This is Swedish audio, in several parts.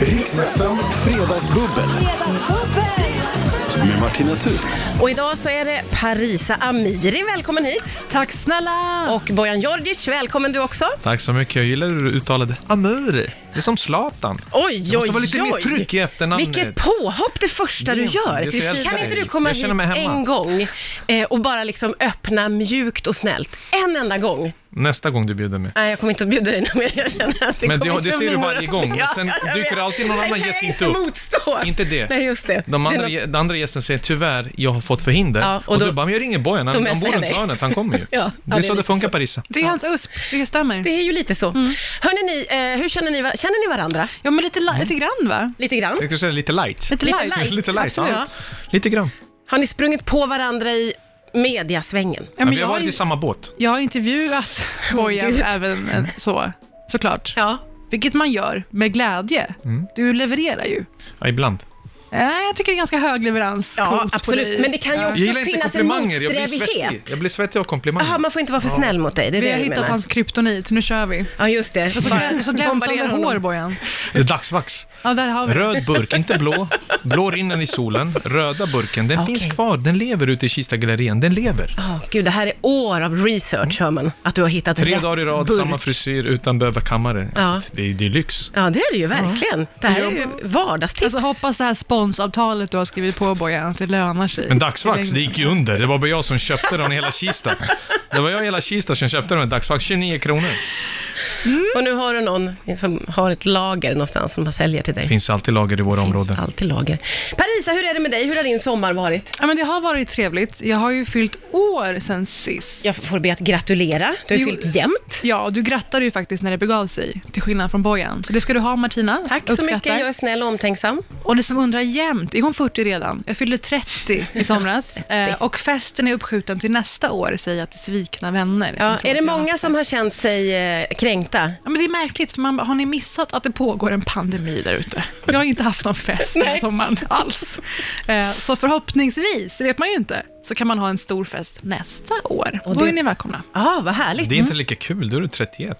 Riksfem Fredagsbubbel med Martina Thun. Och idag så är det Parisa Amiri, välkommen hit. Tack snälla! Och Bojan Djordjic, välkommen du också. Tack så mycket. Jag gillar hur du uttalade Amiri. Det är som Zlatan. Oj, Det måste oj, vara lite mer oj. tryck i efternamnet. Vilket påhopp det första du Det är- gör. det är så Kan jävla inte du fint. komma Jag hit känner mig hemma. en gång eh, och bara liksom öppna mjukt och snällt? En enda gång. Nästa gång du bjuder mig. Nej, jag kommer inte att bjuda dig någon mer. Jag känner att det Men det- kommer det ser bli du några- varje gång. Ja, Sen jag dyker vet. det alltid någon Sen annan kan gäst jag inte upp. motstå. Inte det. Nej, just det. De Det är andra, något- den andra gästen säger tyvärr, jag har fått förhinder. Ja, och och, då- då, bara, men jag ringer Bojan, Då han, han messar bor jag runt dig. hörnet, han kommer ju. Ja, ja, det är det är så det lite funkar, så. Parisa. Det är hans USP, det stämmer. Det är ju lite så. Mm. Hörrni, ni, eh, hur känner ni, va- känner ni varandra? Ja, men lite, la- lite grann va? Lite grann? Jag skulle säga lite light. Lite, Mm. Lite light. light. lite light, Absolut. ja. Lite grann. Har ni sprungit på varandra i mediasvängen? Ja, men men vi jag, har har varit in- i samma båt. jag har intervjuat Bojan Gud. även eh, så, såklart. Ja. Vilket man gör med glädje. Mm. Du levererar ju. Ja, ibland. Äh, jag tycker det är ganska hög leverans. Ja, Coolt på dig. absolut. Men det kan ju Ja. också Jag gillar inte finnas en komplimanger, jag blir svettig. motsträvighet. Jag blir svettig av komplimanger. Jaha, man får inte vara för snäll mot dig. Det är Vi det har du hittat menar. hans kryptonit, nu kör vi. Ja, just det. Och så, Bara glän- och så bombardera glänsande honom. hår, Bojan. Det är dagsvax. Ja, där har vi det. Röd burk, inte blå. Blå rinner i solen. Röda burken, den Okej. finns kvar. Den lever ute i Kista gallerian. Den lever. Ja, gud, det här är år av research, hör man. Att du har hittat Tre rätt dagar i rad, burk. samma frisyr utan behöva kammare. Ja. Alltså, det, det är lyx. Ja, det är det ju verkligen. Det här är ju vardagstips. Alltså, hoppas det här sponsavtalet du har skrivit på, Bojan, att det lönar sig. Men dagsvax, I det längden. gick ju under. Det var bara jag som köpte den i hela Kista. Det var jag i hela Kista som köpte den. Dagsvax 29 kronor. Och nu har du någon som har ett lager någonstans som bara säljer till dig. Det finns alltid lager i våra områden. alltid lager. Parisa, hur är det med dig? Hur har din sommar varit? Ja, men det har varit trevligt. Jag har ju fyllt år sen sist. Jag får be att gratulera. Du har ju Jo. fyllt jämnt. Ja, och du grattade ju faktiskt när det begav sig, till skillnad från Bojan. Så det ska du ha, Martina. Tack så Uppskattar. mycket. Jag är snäll och omtänksam. Och ni som undrar jämt, är hon 40 redan? Jag fyllde 30 i somras. eh, och festen är uppskjuten till nästa år, säger jag till svikna vänner. Ja, som tror är det att jag många som har känt sig eh, kränkta? Ja, men det är märkligt, för man bara, har ni missat att det pågår en pandemi där ute? Jag har inte haft någon fest den här Nej. sommaren alls. Eh, så förhoppningsvis, det vet man ju inte, så kan man ha en stor fest nästa år. Och Då det- är ni välkomna. Ja, vad härligt. Det är inte lika kul, då är du 31.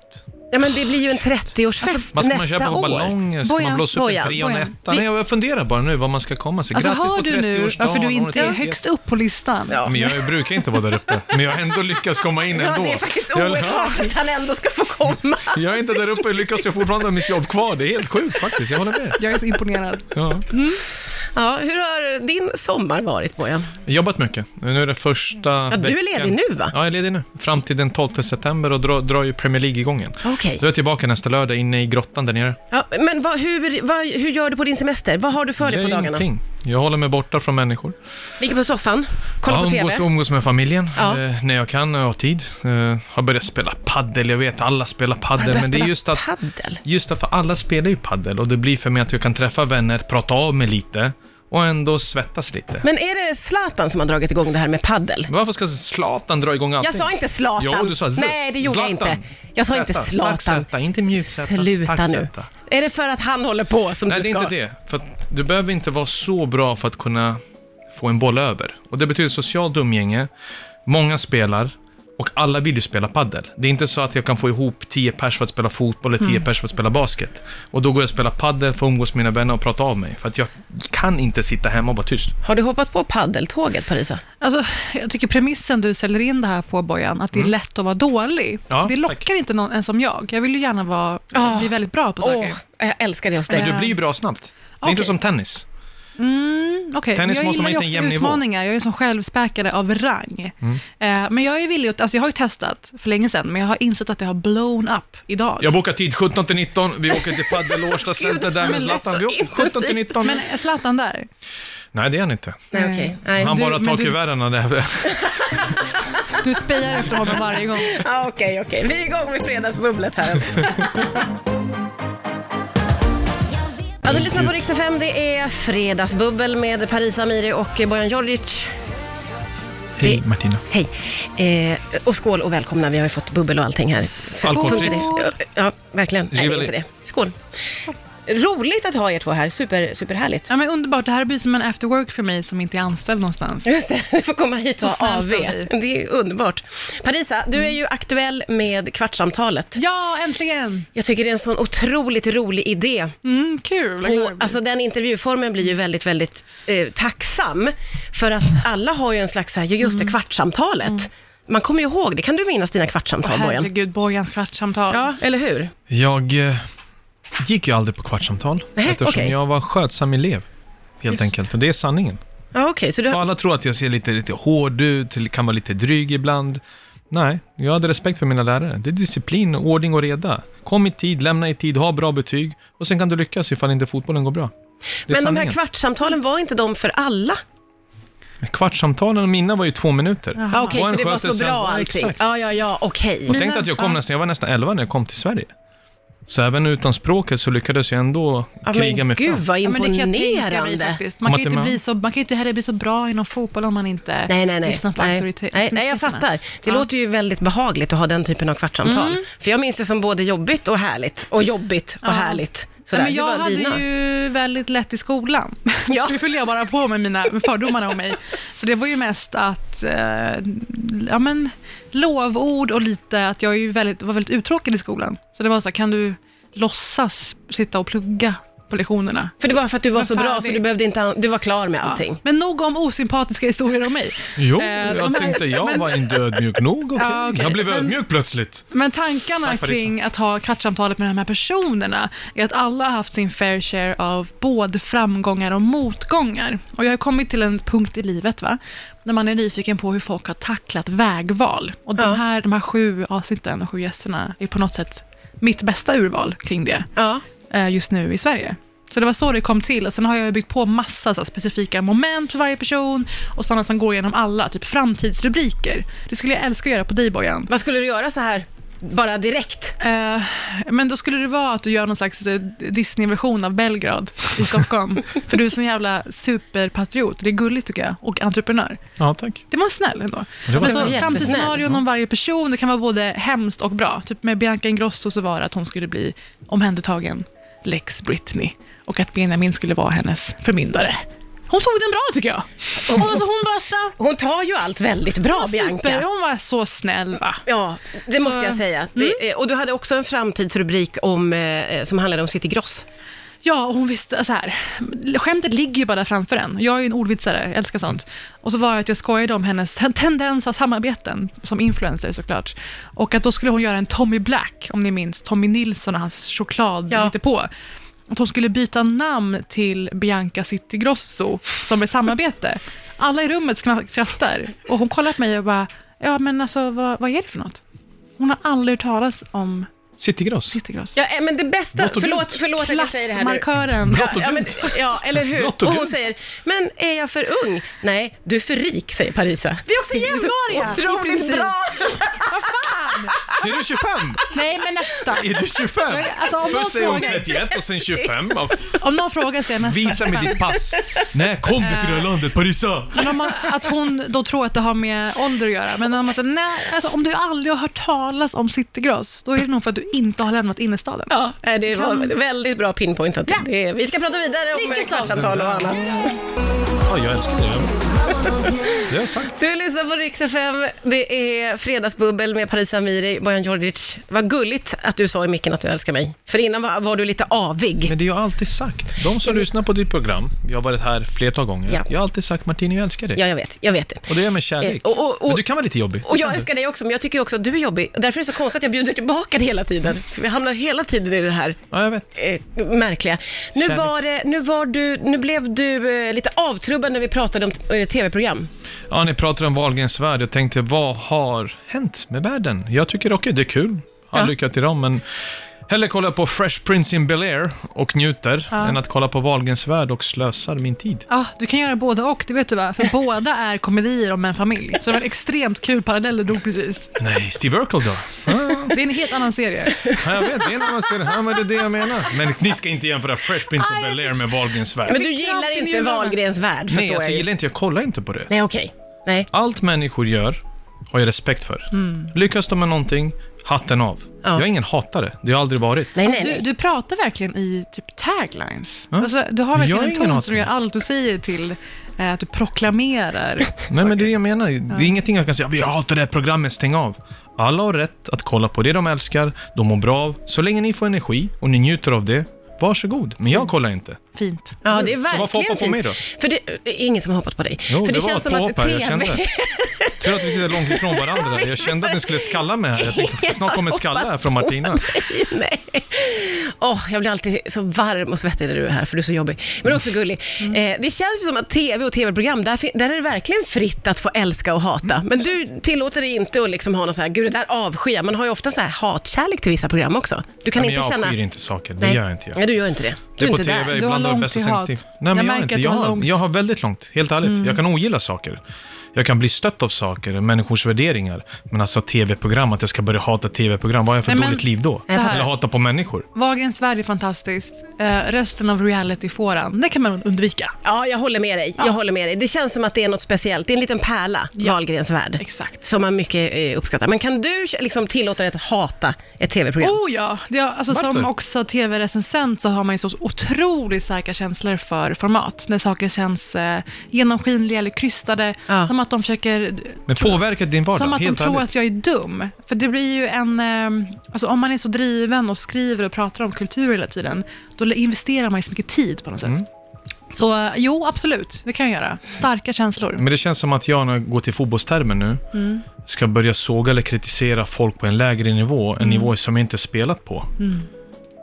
Ja, men det blir ju en 30-årsfest Vad ska man nästa köpa på år. ballonger? Ska Bojan, man blåsa upp Bojan, en Bojan. trionetta? Nej, jag funderar bara nu var man ska komma sig. Alltså, Grattis hör på du nu 30-årsdagen, varför du hon inte är 31. högst upp på listan? Ja. Men jag brukar inte vara där uppe, men jag har ändå lyckats komma in Ja, ändå. det är faktiskt Jag- oerhört att han ändå ska få komma. Jag är inte där uppe, lyckas jag fortfarande ha mitt jobb kvar. Det är helt sjukt faktiskt, jag håller med. Jag är så imponerad. Ja. Ja, hur har din sommar varit, Bojan? Jobbat mycket. Nu är det första Ja, du är ledig nu, va? Ja, jag är ledig nu. Fram till den 12 september och drar, drar ju Premier League igången. Okej. Då är jag tillbaka nästa lördag inne i grottan där nere. Ja, men vad, hur, vad, hur gör du på din semester? Vad har du för dig Jag på gör dagarna? ingenting. Jag håller mig borta från människor. Ligger på soffan, kollar ja, på TV? umgås, umgås med familjen Ja. eh, när jag kan och har tid. Eh, har börjat spela paddel. jag vet alla spelar paddel, Börjar men det är spela just att Paddel? Just det, för alla spelar ju paddel och det blir för mig att jag kan träffa vänner, prata av mig lite och ändå svettas lite. Men är det Zlatan som har dragit igång det här med paddel? Varför ska Zlatan dra igång allting? Jag sa inte Zlatan. Jo, du sa Z- Nej, det gjorde jag Zlatan. inte. Jag sa inte Zäta, Zlatan. stark Zäta, inte mjuk Zäta, Sluta stark nu. Zäta. Är det för att han håller på som Nej, du det ska? är inte det. För att du behöver inte vara så bra för att kunna få en boll över. Och det betyder socialt umgänge, många spelar och alla vill ju spela paddel. Det är inte så att jag kan få ihop 10 pers för att spela fotboll eller 10 pers för att spela basket. Och då går jag och spelar paddel för att umgås med mina vänner och prata av mig. För att jag kan inte sitta hemma och vara tyst. Har du hoppat på paddeltåget, Parisa? Alltså, jag tycker premissen du säljer in det här på, Bojan, att det är lätt att vara dålig, Mm. Ja, det lockar inte någon en som jag. Jag vill ju gärna vara, Ah. bli väldigt bra på Åh, saker. jag älskar det hos dig. Men du blir ju bra snabbt. Det är Okej. inte som tennis. Mm, okay. Tennis jag måste gillar ju man hitta en också jämn nivå. Mm. utmaningar. Jag är som självspäkare av rang. Eh, men jag är villig att, alltså jag har ju testat för länge sedan, men jag har insett att det har blown up idag. Jag bokar tid 17 till 19, vi åker till Padel Årsta Center där men med det är Zlatan. så Vi åker 17 till 19. Men är Zlatan där? Nej, det är han inte. Nej, okej. Nej. Mm. Han Du- bara men tar du- kuverten och det. Du spejar efter honom varje gång. Ja, Ah, Okej, okej. Vi är igång med fredagsbubblet här. Ja, du lyssnar på Rix FM. Det är fredagsbubbel med Parisa Amiri och Bojan Djordjic. Hej Martina. Hej! Eh, och skål och välkomna. Vi har ju fått bubbel och allting här. Alkoholfritt. Funkar det? Ja, verkligen. Nej, det är inte det. Skål! Roligt att ha er två här. Super, superhärligt. Ja, men underbart. Det här blir som en after work för mig som inte är anställd någonstans. Just det, du får komma hit och Så ha AV. snällt av dig. Det är underbart. Parisa, du är ju aktuell med Kvartsamtalet. Ja, äntligen! Jag tycker det är en sån otroligt rolig idé. Mm, kul. Vad glad jag Och, blir. alltså den intervjuformen blir ju väldigt, väldigt eh, tacksam. För att alla har ju en slags, så här, "Ja, just Mm. det, kvartssamtalet. Man kommer ju ihåg det. Kan du minnas dina kvartssamtal, Bojan? Herregud, Bojans kvartssamtal. Ja, eller hur? Jag eh, gick ju aldrig på kvartssamtal Nej, eftersom okej. jag var skötsam elev. Helt Just enkelt, för det är sanningen. Ja, okej, så du Och har... Alla tror att jag ser lite, lite hård ut, till- kan vara lite dryg ibland. Nej, jag hade respekt för mina lärare. Det är disciplin, ordning och reda. Kom i tid, lämna i tid, ha bra betyg och sen kan du lyckas ifall inte fotbollen går bra. Det Men de är här sanningen. kvartssamtalen, var inte de för alla? Kvartssamtalen och mina var ju två minuter. Jaha. Ja, Ah, okej, Och en för det var sköter så sen- bra Ja, allting. exakt. Ja, ja, ja, okej. Och Mina- tänk att jag kom ja. nästan, jag var nästan 11 när jag kom till Sverige. Så även utan språket så lyckades jag ändå Ja, kriga men mig gud fram. vad Ja, men det kan jag tänka mig imponerande. faktiskt. Man kan, ju Komma inte till bli så, man kan ju inte heller bli så bra inom fotboll om man inte Nej, nej, nej. lyssnar på nej. auktoritet. nej, nej, jag fattar. Det Ja. Mm. låter ju väldigt behagligt att ha den typen av kvartssamtal. För jag minns det som både jobbigt och härligt. Och jobbigt och Ja. härligt. Sådär. Nej, men det jag var hade dina. ju väldigt lätt i skolan. Ja. Så nu fyllde jag bara på med mina med fördomarna om mig. Så det var ju mest att, eh, ja men, lovord och lite att jag är ju väldigt, var väldigt uttråkad i skolan. Så det var så här, kan du låtsas sitta och plugga på lektionerna? För det var för att du var Men så fan, bra det- så du behövde inte, an- du var klar med allting. Men nog om osympatiska historier om mig. Jo, Eh, jag men- tänkte jag var inte ödmjuk nog. okej. Ja, okej. Jag blev Men- ödmjuk plötsligt. Men tankarna Tack för det. kring att ha kvartssamtalet med de här personerna är att alla har haft sin fair share av både framgångar och motgångar. Och jag har kommit till en punkt i livet, va, när man är nyfiken på hur folk har tacklat vägval. Och Ja. de, här, de här sju avsnitten, och sju gästerna, är på något sätt mitt bästa urval kring det Ja. eh, just nu i Sverige. Så det var så det kom till och sen har jag byggt på massa så här, specifika moment för varje person och sådana som går igenom alla, typ framtidsrubriker. Det skulle jag älska att göra på dig Bojan. Vad skulle du göra så här, bara direkt? Eh, men då skulle det vara att du gör någon slags eh, Disney-version av Belgrad i Stockholm. för du är sån jävla superpatriot. Det är gulligt tycker jag. Och entreprenör. Ja, tack. Det var snäll ändå. Det var Men så snällt. jättesnäll. framtidsscenarion om varje person, det kan vara både hemskt och bra. Typ med Bianca Ingrosso så var det att hon skulle bli omhändertagen Lex Britney. Och att Benjamin skulle vara hennes förmyndare. Hon tog den bra tycker jag. Hon, alltså, hon var så... Hon tar ju allt väldigt bra, Super, Bianca. hon var så snäll va. Ja, det måste jag säga. Mm. Det, eh, och du hade också en framtidsrubrik om, eh, som handlade om City Gross. Ja, och hon visste så här. Skämtet ligger ju bara framför en. Jag är ju en ordvitsare, jag älskar sånt. Och så var det att jag skojade om hennes ten- tendens av samarbeten, som influencer såklart. Och att då skulle hon göra en Tommy Black, om ni minns Tommy Nilsson och hans choklad Ja. lite på. Att hon skulle byta namn till Bianca City Grosso, som är samarbete. Alla i rummet skna- skrattar. Och hon kollar på mig och bara, ja men alltså vad, vad är det för något? Hon har aldrig hört talas om Citygross. City Grosso. Ja, eh, men det bästa, Gott och förlåt, grymt. förlåt att jag säger det här nu. Klassmarkören. Gott och Ja, men, grymt. ja, eller hur? Gott och Och hon grymt. säger, men är jag för ung? Nej, du är för rik, säger Parisa. Vi är också jämnåriga. i Otroligt princip. bra! Vad fan? Är du 25? Nej, men nästan. Är du 25? Alltså, om någon Först säger hon frågar- 31 och sen 25. Ja, f- Om någon frågar sig nästan. Visa med ditt pass. Nej, kom till Eh. det här landet, Parisa! Men om man, att hon då tror att det har med ålder att göra. Men om, man säger, nej, alltså, om du aldrig har hört talas om citygross, då är det nog för att du inte har lämnat innerstaden. Ja, nej, det var Kan- väldigt bra pinpointat. Ja. Det, vi ska prata vidare om Mycket eh, sånt. kvartssamtal och annat. Ja, jag älskar det. Det har jag sagt. Du lyssnar på Rix FM. Det är fredagsbubbel med Parisa Amiri, Bojan Djordjic. Vad gulligt att du sa i micken att du älskar mig. För innan var, var du lite avig. Men det har jag alltid sagt. De som lyssnar på ditt program, jag har varit här flertal gånger. Ja. Jag har alltid sagt Martin, jag älskar dig. Ja, jag vet. Jag vet det. Och det gör jag med kärlek. Eh, och- och- och- men du kan vara lite jobbig. Och jag älskar dig också, men jag tycker också att du är jobbig. Därför är det så konstigt att jag bjuder tillbaka det hela tiden. För vi hamnar hela tiden i det här Ja, jag vet. eh, märkliga. Nu Kärlek. var, det, nu var du, nu blev du eh, lite avtrubbad när vi pratade om eh, tv-program. Ja, ni pratade om Wahlgrens värld. Jag tänkte, vad har hänt med världen? Jag tycker okej, det är kul. All Ja. lycka till dem, men hellre kolla på Fresh Prince in Bel-Air och njuter, Ja. än att kolla på Wahlgrens värld och slösar min tid. Ja, du kan göra både och, det vet du va? För båda är komedier om en familj. Så det var en extremt kul parallell du drog precis. Nej, Steve Urkel då? Det är en helt annan serie. Ja, jag vet, det är när man ser det. Ja, men det är det jag menar. Men ni ska inte jämföra Fresh Prince in Bel-Air med Wahlgrens värld. Men du fick gillar kramp i inte njurarna. Wahlgrens värld, förstår Nej, alltså, jag jag ju. gillar inte, jag kollar inte på det. Nej, okej. Nej. Allt människor gör har jag respekt för. Lyckas de med någonting, hatten av. Ja. Jag är ingen hatare, det har jag aldrig varit. Nej, nej, Du, nej. du pratar verkligen i typ taglines. Ja. Alltså, du har Jag är verkligen en ingen ton som hatare. du gör allt du säger till eh, att du proklamerar. Nej, men det är det jag menar. Det är ingenting jag kan säga, vi hatar det här programmet, stäng av. Alla har rätt att kolla på det de älskar, de mår bra av. Så länge ni får energi och ni njuter av det, varsågod. Men Mm. jag kollar inte. Fint. Ja, det är varför verkligen hoppar på fint. mig då? För det, det är ingen som har hoppat på dig. Jo, För det, det, var känns som ett att påhopp här, jag TV... kände det. Tur att vi sitter långt ifrån varandra. Jag kände att ni skulle skalla mig här. Jag tänkte, snart kommer skalla här från Martina. Nej. Åh, jag blir alltid så varm och svettig när du är här, för du är så jobbig. Men också gullig. Mm. Eh, det känns ju som att tv och tv-program, där, fin- där är det verkligen fritt att få älska och hata. Mm. Men du tillåter dig inte att liksom ha någon så här, gud det där avskyr Man har ju ofta så här hatkärlek till vissa program också. Du kan Nej, men inte jag känna... avskyr inte saker, det Nej. gör jag inte. Jag. Nej, du gör inte det. Det Du är är på inte där. tv Du har ibland har långt bästa till hat. sensitiv. Nej, men jag, Jag har märker att inte. du Jag, har har, långt. Mm. jag har väldigt långt, helt ärligt. Jag kan ogilla saker. Jag kan bli stött av saker, människors värderingar. Men alltså tv-program, att jag ska börja hata tv-program, vad har jag för Nej, men- dåligt liv då? Så här. Eller hata på människor? Vagens värld är fantastiskt. Eh, resten av realityfåran, det kan man undvika. Ja, jag håller med dig. Jag håller med dig. Det känns som att det är något speciellt. Det är en liten pärla, Wahlgrens värld. Exakt. Som man mycket eh, uppskattar. Men kan du liksom tillåta dig att hata ett tv-program? Oh ja, det är, alltså, som Varför? också tv-recensent så har man ju så otroligt starka känslor för format. När saker känns eh, genomskinliga eller krystade. Ja. Som att de försöker Men påverkar din vardag, Som att de helt tror ärligt. att jag är dum. För det blir ju en... ehm, Alltså om man är så driven och skriver och pratar om kultur hela tiden, då investerar man ju så mycket tid på något Mm. sätt. Så eh, jo, absolut, det kan jag göra. Starka känslor. Men det känns som att jag, när jag går till fotbollstermer nu, Mm. ska börja såga eller kritisera folk på en lägre nivå, en Mm. nivå som jag inte spelat på.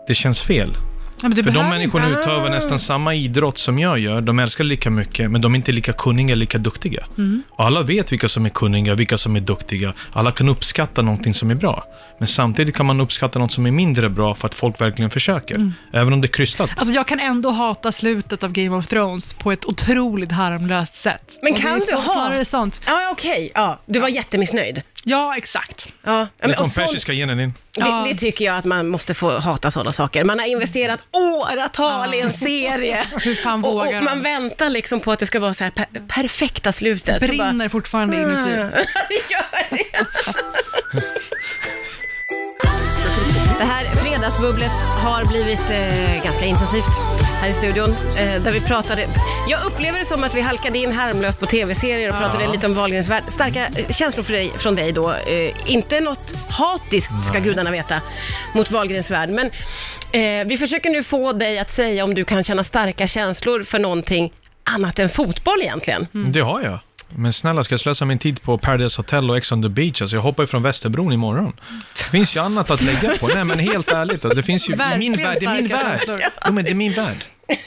Det känns fel. Ja, men det För de behöver människorna inte. utövar nästan samma idrott som jag gör. De älskar lika mycket, men de är inte lika kunniga, lika duktiga. Mm. Och alla vet vilka som är kunniga, vilka som är duktiga. Alla kan uppskatta någonting som är bra. Men samtidigt kan man uppskatta något som är mindre bra för att folk verkligen försöker. Mm. Även om det är krystat. Alltså jag kan ändå hata slutet av Game of Thrones på ett otroligt harmlöst sätt. Men Och det kan är du så, ha- Snarare sånt. Ja, ja, okej. Ja, du var jättemissnöjd. Ja, exakt. Ja, ja, men, Det och kom sånt- persiska genen in. Ja. det, det tycker jag att man måste få hata sådana saker. Man har investerat åratal i en serie. Hur fan och, vågar och de? man väntar liksom på att det ska vara så här per- perfekta slutet. Så bara- Mm. Brinner fortfarande inuti. det gör det. Det här fredagsbubblet har blivit eh, ganska intensivt här i studion. Eh, där vi pratade, jag upplever det som att vi halkade in harmlöst på tv-serier och pratade lite om Wahlgrens värld. Starka eh, känslor för dig, från dig då. Eh, inte något hatiskt, ska gudarna veta, mot Wahlgrens värld. Men eh, vi försöker nu få dig att säga om du kan känna starka känslor för någonting annat än fotboll egentligen. Mm. Det har jag. Men snälla, ska jag slösa min tid på Paradise Hotel och Ex on the Beach? Alltså, jag hoppar ju från Västerbron imorgon. Det finns ju annat att lägga på. Nej, men helt ärligt. Alltså, det finns ju... Alltså. Verkligen min värld, det är min starka värld. känslor. Jo, men det är min värld.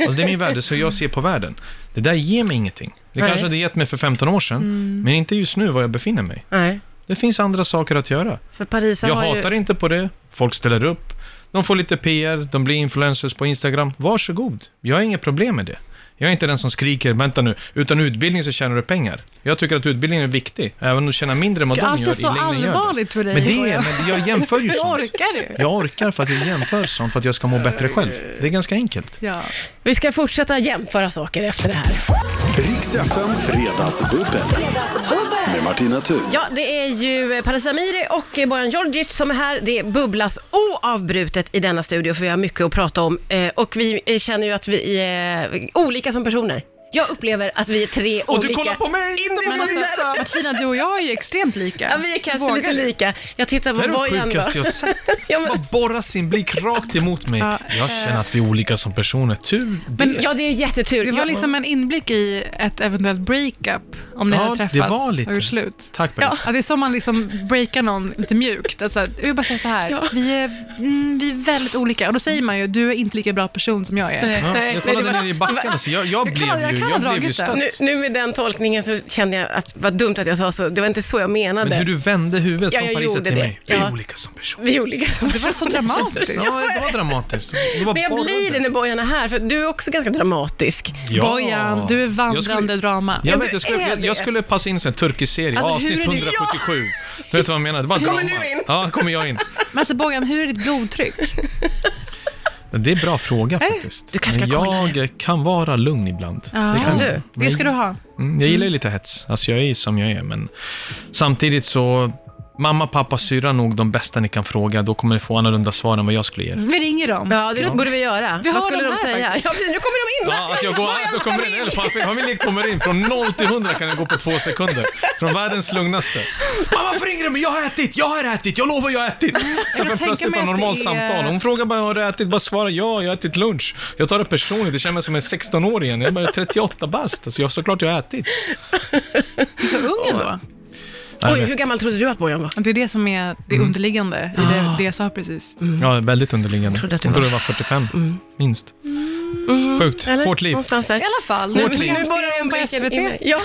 Alltså, det är min värld. Det är så jag ser på världen. Det där ger mig ingenting. Det Nej. kanske hade gett mig för 15 år sedan, Mm. men inte just nu var jag befinner mig. Nej, Det finns andra saker att göra. för Parisa jag har ju... hatar inte på det. Folk ställer upp. De får lite PR, de blir influencers på Instagram. Varsågod. Jag har inget problem med det. Jag är inte den som skriker, vänta nu, utan utbildning så tjänar du pengar. Jag tycker att utbildning är viktig, även om du tjänar mindre än vad de gör Allt är så i längden gör det. allvarligt för dig, Men det Goya. är, men jag jämför ju Hur sånt. orkar du? Jag orkar för att jag jämför sånt, för att jag ska må bättre själv. Det är ganska enkelt. Ja. Vi ska fortsätta jämföra saker efter det här. Riks FM Fredagsbubbel. Med Martina Thun. Ja, det är ju eh, Paris Amiri och eh, Bojan Djordjic som är här. Det bubblas oavbrutet i denna studio för vi har mycket att prata om eh, och vi eh, känner ju att vi är eh, olika som personer. Jag upplever att vi är tre Och olika. du kollar på mig! Men alltså, Martina, du och jag är ju extremt lika. Ja, vi är kanske Vågar lite du? lika. Jag tittar Det på är det Bojan då. sjukaste jag sett. ja, men, Bara borra sin blick rakt emot mig. Ja, Jag känner att vi är olika som personer. Tur det. Men ja, det är jättetur. Det var Jag- liksom en inblick i ett eventuellt breakup, om ni Ja, hade det träffats var lite. och gjort slut. Tack Paris. Ja, det är så man liksom breakar någon lite mjukt. Alltså, jag vill bara säga så här, vi, är, mm, vi är väldigt olika. Och då säger man ju, du är inte lika bra person som jag är. Ja, jag kollade det var- ner i backen, så jag, jag, blev klarar- jag ju, kan jag, ha blev ju dragit stött. den. nu, nu med den tolkningen så kände jag att vad dumt att jag sa så. Det var inte så jag menade. Men hur du vände huvudet Ja, från jag Parisa gjorde till det. mig. Vi är Ja. olika som personer. Vi är olika som Det var så dramatiskt. Ja, det var dramatiskt. Det var Men jag bara blir det när Bojan är här, för du är också ganska dramatisk. Ja. Bojan, du är Jag vandrande skulle, drama. jag, du vet, jag, skulle, är jag, jag det. skulle passa in i en turkisk serie, Alltså, hur avsnitt är det- 177. Du vet vad jag menar? Det var Kommer drama. du in? Ja, kommer jag in. Men alltså Bojan, hur är ditt blodtryck? Det är en bra fråga faktiskt. Du kanske ska Men kolla jag kan vara lugn ibland. Ja. Det Kan du? jag. Det ska du ha. Mm, jag gillar ju lite hets. Alltså jag är ju som jag är, men samtidigt så... Mamma, pappa, syra är nog de bästa ni kan fråga. Då kommer ni få annorlunda svar än vad jag skulle ge er. Vi ringer dem. Ja, det borde vi göra. Vi har Vad skulle dem de här säga? Ja, faktiskt. nu kommer de in! Ja, att jag går, då kommer en elefantfamilj kommer in. Från 0 till 100 kan jag gå på två sekunder. Från världens lugnaste. Mamma, varför ringer du mig? Jag har ätit, jag har ätit, jag lovar Mm. jag har ätit. Så kan helt tänka plötsligt mig bara att normalt det är- samtal. Hon frågar bara, har du ätit? Bara svara ja, jag har ätit lunch. Jag tar det personligt, det känner mig som en 16-åring igen. Jag bara, jag är 38 bast. Alltså, jag, såklart jag har ätit. Så ung ändå. Jag Oj, vet. hur gammal trodde du att Bojan var? Det är det som är det Mm. underliggande i Ah. det, det jag sa precis. Ja, väldigt underliggande. Mm. trodde att det Hon var- Mm. trodde det var 45, minst. Sjukt. Eller? Hårt liv. Någonstans där. I alla fall, Vårt liv. Nu börjar programserien på omblicken in mig. SVT. Ja,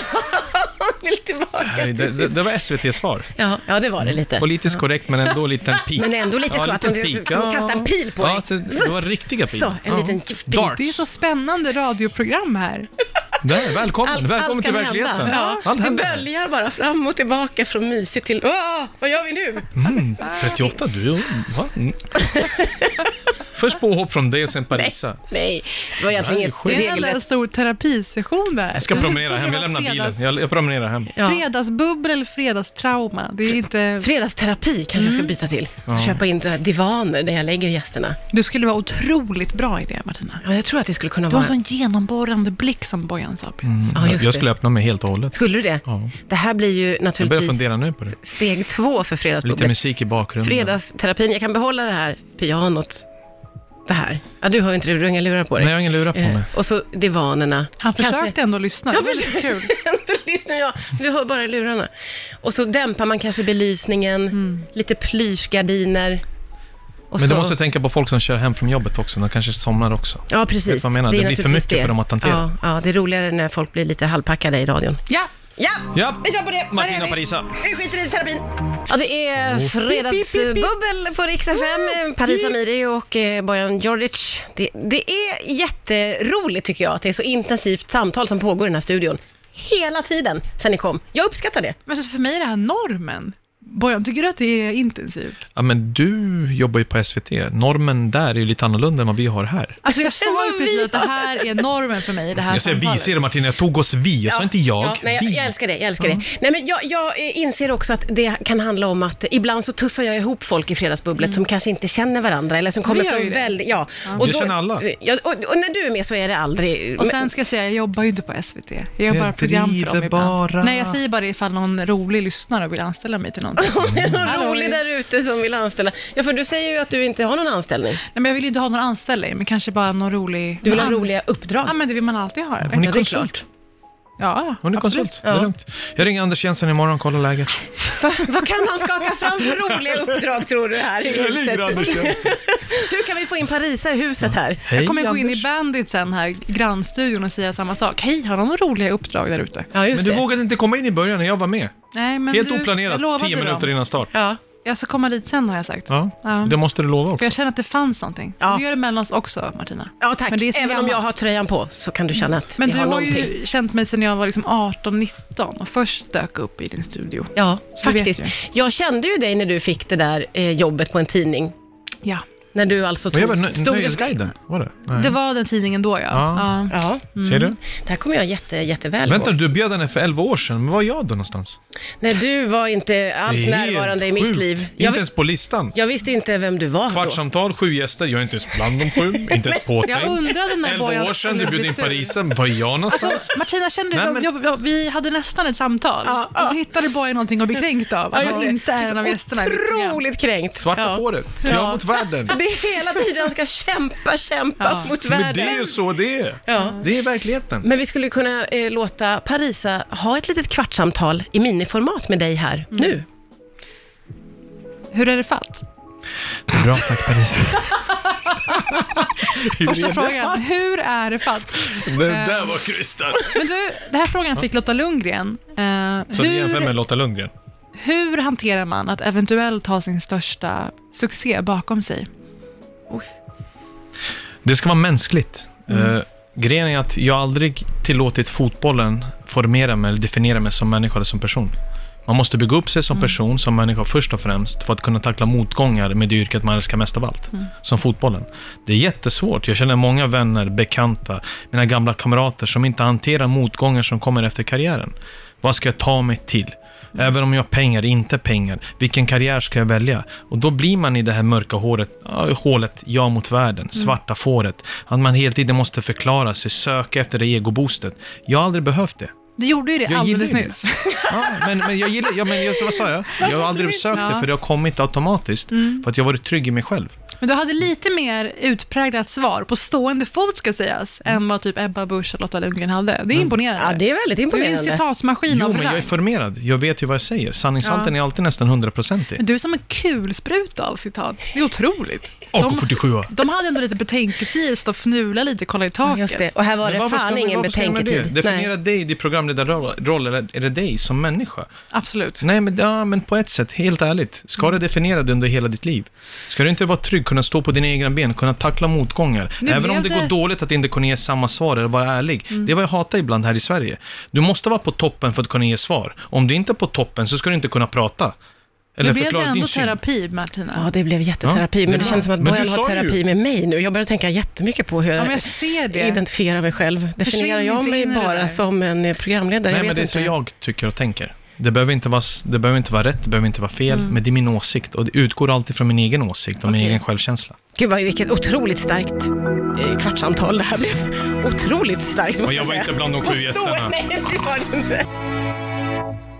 vill tillbaka Nej, Det, till det, sitt... det Mm. var SVT-svar. Ja, ja, det var det lite. Politiskt korrekt, men ändå en liten pik. Men ändå lite så att liten de- pik. som kastar en pil på ja, dig. det, det var riktiga pil. Så, en Ja. liten pil. Darts. Det är så spännande radioprogram här. Där, välkommen, Allt- välkommen allt till kan verkligheten. hända. Ja. Allt det händer. böljar bara fram och tillbaka från mysigt till... Åh, vad gör vi nu? Mm, 38, du va? Mm. Först påhopp från dig och sen Parisa. Nej, det var egentligen Nej, inget Det skit. är en enda regelrätt. stor terapisession där. Jag ska promenera hem, jag lämnar bilen. Jag, jag promenerar hem. Ja. Fredagsbubbel eller fredagstrauma? Det är inte... Fredagsterapi kanske jag ska byta till. Ja. Köpa in så här divaner där jag lägger gästerna. Du skulle vara otroligt bra i det, Martina. Ja, jag tror att det skulle kunna Du har vara... en sån genomborrande blick som Bojan sa precis. Ja, just jag det. skulle öppna mig helt och hållet. Skulle du det? Ja. Det här blir ju Jag börjar naturligtvis fundera nu på det. steg två för Lite fredagsbubbel. musik i bakgrunden. Fredagsterapin, jag kan behålla det här pianot. Det här. Ja, du har ju inte det, du har inga lurar på dig. Nej, jag har ingen lura på Eh, mig. Och så divanerna. Han Kanske- försökte ändå lyssna. Det Jag var lite försökte kul. inte lyssna, jag. Du hör bara i lurarna. Och så dämpar man kanske belysningen, Mm. lite plyschgardiner. Och Men så... du måste tänka på folk som kör hem från jobbet också. De kanske somnar också. Ja, precis. Vet du vad jag menar? Det blir för naturligtvis mycket för dem att hantera. Ja, ja, det är roligare när folk blir lite halvpackade i radion. Ja, Ja, Ja, vi kör på det! Martina vi? och Parisa. Vi skiter i terapin. Ja, det är fredagsbubbel på Rix FM. Paris Amiri och eh, Bojan Djordjic. Det, det är jätteroligt tycker jag att det är så intensivt samtal som pågår i den här studion. Hela tiden sen ni kom. Jag uppskattar det. men alltså för mig är det här normen. Bojan, tycker du att det är intensivt? Ja, men du jobbar ju på SVT. Normen där är ju lite annorlunda än vad vi har här. Alltså jag sa ju Vad precis vi att det här är normen för mig i det här Jag säger vi, samtalet. ser det Martina. Jag tog oss vi. Jag sa inte jag. Ja, nej, jag, vi. jag älskar det. Jag, älskar det. Nej, men jag, jag eh, inser också att det kan handla om att ibland så tussar jag ihop folk i fredagsbubblet som kanske inte känner varandra eller som kommer gör ju från Mm. det. väldigt... Ja. Det känner alla. Ja, och, och när du är med så är det aldrig... Och men- sen ska jag säga, jag jobbar ju inte på SVT. Jag gör Jag bara program för dem driver ibland. bara. Nej, jag säger bara det ifall någon rolig lyssnare vill anställa mig till någonting. Om det är någon Hallå. rolig där ute som vill anställa. Ja, för du säger ju att du inte har någon anställning. Nej, men jag vill ju inte ha någon anställning, men kanske bara någon rolig... Du vill ha Man- roliga uppdrag. Ja, men det vill man alltid ha. Eller? Hon är Ja, det är konsult. Ja, Hon är absolut. konsult. Det är lugnt. Jag ringer Anders Jensen imorgon och kollar läget. Va, vad kan han skaka fram för roliga uppdrag tror du här i huset? Jensen. Hur kan vi få in Parisa i huset här? Hej Jag kommer gå in i Anders. Bandit sen här, grannstudion, och säga samma sak. Hej, har någon roliga uppdrag där ute? Ja, just Men du det. vågade inte komma in i början när jag var med. Nej, men Helt du, jag oplanerat, lovade tio dem. minuter innan start. Ja. Jag ska komma dit sen har jag sagt. Ja, Ja. det måste du lova För också. jag känner att det fanns någonting. Ja. Du gör det mellan oss också, Martina. ja, tack. Men det är så Även om gammalt. jag har tröjan på så kan du känna att Men vi du har har någonting. ju känt mig sedan jag var liksom 18-19 och först dök upp i din studio. Ja, Du vet faktiskt. Jag kände ju dig när du fick det där eh, jobbet på en tidning. Ja. När du alltså Men jag var tog... nö- Nöjesguiden, var det? Nej. Det var Mm. den tidningen då, ja. Ja. ja. Ja, Ser du? det här kommer jag jätte, jätteväl Vänta, ihåg. du bjöd henne för 11 år sedan. Men var var jag då någonstans? Nej, du var inte alls Det är helt närvarande i mitt sjukt. liv. Inte Jag, vi- ens på listan. jag visste inte vem du var då. Kvartssamtal, sju gäster. Jag är inte ens bland de sju, inte ens påtänkt. Jag undrade när 11 Bojan år sedan, skulle du bjöd bli in sur. parisen. Var är jag någonstans? Alltså, Martina, kände Nej, du, men- jag, jag, vi hade nästan ett samtal Ja, och så hittade Bojan någonting att bli kränkt av. Att han inte är en av gästerna. i mitt program. Otroligt kränkt. Svarta Ja. fåret, Ja. jag mot världen. Det är hela tiden han ska kämpa, kämpa Ja. mot Men det världen. är ju så det är. Ja. Det är verkligheten. Men vi skulle kunna eh, låta Parisa ha ett litet kvartssamtal i miniformat med dig här Mm. nu. Hur är det fatt? Bra, tack Paris. Första frågan, hur är det fatt? Den Eh. där var krystad. Men du, den här frågan fick Lotta Lundgren. Eh, Så du jämför med hur, Lotta Lundgren? hur hanterar man att eventuellt ha sin största succé bakom sig? Det ska vara mänskligt. Eh, grejen är att jag aldrig tillåtit fotbollen formera mig eller definiera mig som människa eller som person. Man måste bygga upp sig som person, som människa först och främst, för att kunna tackla motgångar med det yrket man älskar mest av allt, som fotbollen. Det är jättesvårt. Jag känner många vänner, bekanta, mina gamla kamrater som inte hanterar motgångar som kommer efter karriären. Vad ska jag ta mig till? Även om jag har pengar, inte pengar. Vilken karriär ska jag välja? Och då blir man i det här mörka håret, ja, hålet, jag mot världen, svarta fåret. Att man hela tiden måste förklara sig, söka efter det egoboostet. Jag har aldrig behövt det. Du gjorde ju det Jag gillar alldeles ju det. nyss. Ja, men, men jag gillar, ja, men jag, vad sa jag? Jag har aldrig sökt det, Ja. för det har kommit automatiskt. För att jag har varit trygg i mig själv. Men du hade lite mer utpräglat svar på stående fot ska sägas, Mm. än vad typ Ebba Busch och Lotta Lundgren hade. Det är imponerande. Ja, det är väldigt du är en imponerande. citatsmaskin Jo, av men jag är rang. formerad. Jag vet ju vad jag säger. Sanningshalten är alltid nästan hundraprocentig. Men du är som en kulspruta av citat. Det är otroligt. De, AK47. de hade ändå lite betänketid, så de fnula lite, kolla i taket. Just det, och här var Men det varför fan ska- ingen varför ska jag göra betänketid. Det? Nej. Definiera dig, din programledarroll, eller är det dig som människa? Absolut. Nej, men, ja, men på ett sätt, helt ärligt. Ska Mm. du definiera det under hela ditt liv? Ska du inte vara trygg, kunna stå på dina egna ben, kunna tackla motgångar? Nu Även om det blev går det- Mm. dåligt att inte kunna ge samma svar eller vara ärlig. Det är vad jag hatar ibland här i Sverige. Du måste vara på toppen för att kunna ge svar. Om du inte är på toppen så ska du inte kunna prata. Eller Nu blev det förklara din ändå syn. terapi, Martina. Ja, det blev jätteterapi, Ja, men det ja. känns som att Men du Bojan har sa ju- terapi med mig nu. Jag börjar tänka jättemycket på hur Ja, men jag jag ser det. identifierar mig själv. Definierar jag inte mig in i det där. bara som en eh, programledare? Nej, jag men vet det är inte. så jag tycker och tänker. Det behöver, inte vara, s- det behöver inte vara rätt, det behöver inte vara fel, men det är min åsikt. Och det utgår alltid från min egen åsikt och min Okej. egen självkänsla. Gud, vad, vilket otroligt starkt eh, kvartsamtal det här blev. Otroligt starkt, måste jag var säga. inte bland de sju Måste- gästerna. Nej, det var du inte.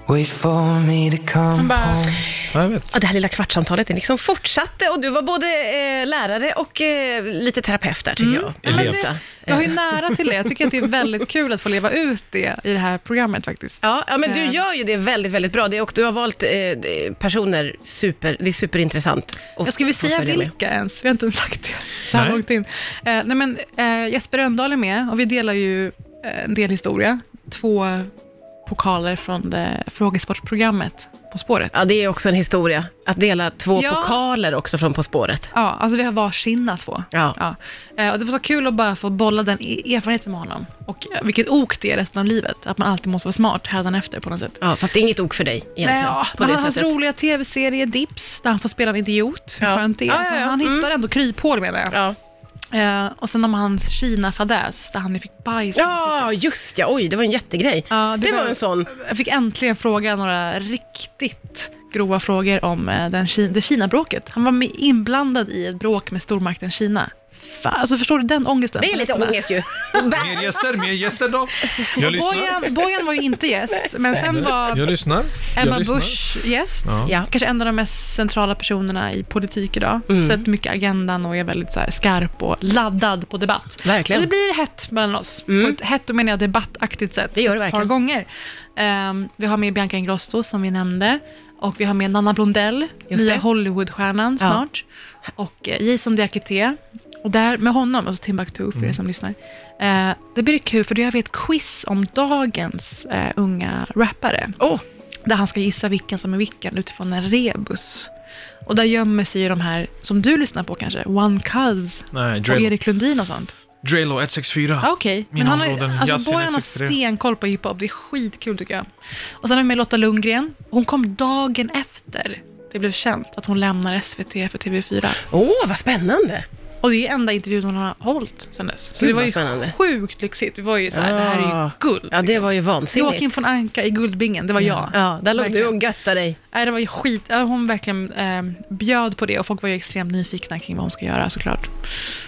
Wait for me to come Bara, Ja, jag vet. Ja, det här lilla kvartsamtalet det liksom fortsatte och du var både eh, lärare och eh, lite terapeut där, tycker Mm. jag. Elev. Lisa. jag har ju nära till det. Jag tycker att det är väldigt kul att få leva ut det i det här programmet faktiskt. Ja, ja, men du Eh. gör ju det väldigt, väldigt bra. Det är, och du har valt eh, d- personer, super, det är superintressant. att Jag ska väl få säga följa med. vilka ens, vi har inte ens sagt det så här Nej. långt in. Eh, nej men, eh, Jesper Rönndahl är med och vi delar ju eh, en del historia. Två pokaler från det, frågesportprogrammet På spåret. Ja, det är också en historia. Att dela två Ja. pokaler också från På spåret. Ja, alltså vi har varsina två. Ja. Eh, och det var så kul att bara få bolla den e- erfarenheten med honom. Och eh, vilket ok det är resten av livet, att man alltid måste vara smart hädanefter på något sätt. Ja, fast det är inget ok för dig egentligen. Nej, ja, på men det hans sättet. roliga tv-serie Dips, där han får spela en idiot. Hur Ja. skönt det är. Ja, ja, ja. Han Mm. hittar ändå kryphål menar jag. Ja. Eh, och sen om hans Kina-fadäs, där han fick bajs. ja, just ja. Oj, det var en jättegrej. Ja, det, var en sån. Jag fick äntligen fråga några riktigt grova frågor om eh, den Kina, det Kina-bråket. Han var med inblandad i ett bråk med stormakten Kina. Fan, alltså förstår du den ångesten? Det är lite ångest ju. Mer gäster, mer gäster då. Jag lyssnar. Bojan, Bojan var ju inte gäst, men sen var Jag lyssnar. Ebba jag lyssnar. Busch gäst. Ja. Ja. Kanske en av de mest centrala personerna i politik idag. Sett mycket agendan och är väldigt så här skarp och laddad på debatt. Verkligen. Så Det blir hett mellan oss. På ett hett, då menar jag debattaktigt sätt. Det gör det Ett par verkligen. gånger. Ehm, vi har med Bianca Ingrosso som vi nämnde. Och vi har med Nanna Blondell, Just nya det. Hollywoodstjärnan Ja. snart. Och eh, Jason Diakité. Och där med honom, alltså Timbuktu Mm. för er som lyssnar. Eh, det blir kul för då gör vi ett quiz om dagens eh, unga rappare. Åh, Där han ska gissa vilken som är vilken utifrån en rebus. Och där gömmer sig ju de här, som du lyssnar på kanske, One Cuz Nej, och Drelo. Erik Lundin och sånt. Drelo 164. Ja, Ah, Okej, men Mina han har, Ah, områden, alltså Yasin är Bojan har 63. stenkoll på hiphop. Det är skitkul tycker jag. Och sen har vi med Lotta Lundgren. Hon kom dagen efter det blev känt att hon lämnar SVT för TV4. Åh, vad spännande. Och det är enda intervjun hon har hållit sen dess. Så Gud, det var vad ju spännande. sjukt lyxigt. Vi var ju såhär, det här är ju Ja. guld. Ja, det var ju Joakim vansinnigt. von Anka i Guldbingen, det var jag. Ja, där låg du Verkligen. och göttade dig. Nej, det var ju skit. ja, Hon verkligen eh, bjöd på det och folk var ju extremt nyfikna kring vad hon ska göra såklart.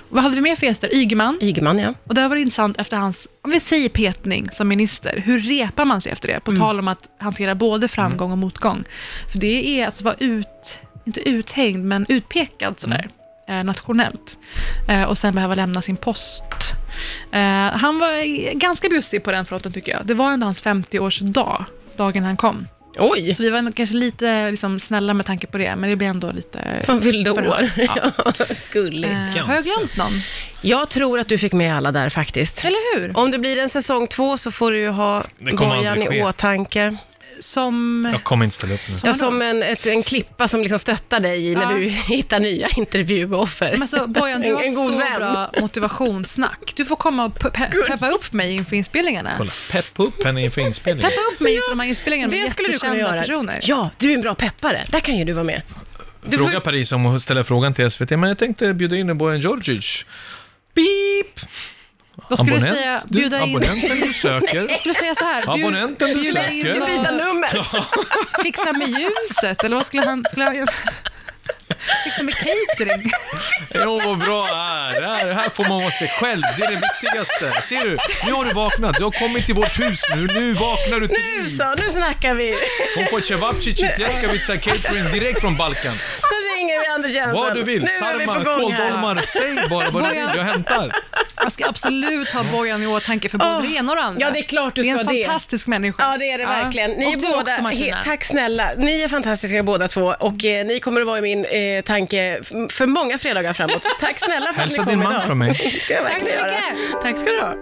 Vad hade vi mer för gäster? Ygeman. Ygeman, ja. Och där var det intressant efter hans, om vi säger petning som minister, hur repar man sig efter det? Mm. På tal om att hantera både framgång och motgång. För det är att vara ut, inte uthängd, men utpekad sådär. Mm. Eh, nationellt. Eh, och sen behöva lämna sin post. Eh, han var eh, ganska bjussig på den fronten tycker jag. Det var ändå hans 50-årsdag, dagen han kom. Oj, Så vi var nog kanske lite liksom, snälla med tanke på det, men det blir ändå lite... fan fyllde Förhör. år. Ja. Gulligt. Eh, har jag glömt någon? Jag tror att du fick med alla där faktiskt. Eller hur? Om det blir en säsong två så får du ju ha kommer aldrig Bojan i ske. åtanke. som... Jag kommer inte ställa upp nu. Ja, som en, ett, en klippa som liksom stöttar dig i när Ja. du hittar nya intervjuoffer. Men alltså, Bojan, du En- har en god så vän. bra motivationssnack. Du får komma och pe- pe- peppa upp mig inför inspelningarna. Kolla, peppa upp henne inför inspelningen. Peppa upp mig inför de här inspelningarna med det skulle du kunna jättekända göra. personer. Ja, du är en bra peppare. Där kan ju du vara med. Du Fråga Paris om hon ställer frågan till SVT, men jag tänkte bjuda in Bojan Djordjic. Beep! Då skulle jag säga, du, bjuda in... Abonnenten du söker. Skulle jag säga så här, bjud- Abonnenten du bjuda in söker. får byta och nummer. fixa med ljuset, eller vad skulle han... Skulle han fixa med catering. Jo, vad bra det är. Det Här, här får man vara sig själv, det är det viktigaste. Ser du? Nu har du vaknat, du har kommit till vårt hus nu. Nu vaknar du till Nu liv. så, nu snackar vi. Hon får cevapcic, tjeskavica, catering direkt från Balkan. Så ringer vi Anders Jensen. Vad du vill, Nu är vi på sarmar, gång här. kåldolmar, säg bara vad du vill, jag hämtar. Man ska absolut ha Bojan i åtanke för både Åh, det ena och det andra. Ah. ja, det är klart du Det ska är det. en fantastisk människa. Ja, det är det verkligen. Ni och är du båda, också, Martina. he- tack snälla. Ni är fantastiska båda två och eh, ni kommer att vara i min eh, tanke f- för många fredagar framåt. Tack snälla för att ni Hälsa kom din idag. man från mig. Ska jag Tack så verkligen göra. Tack ska du ha.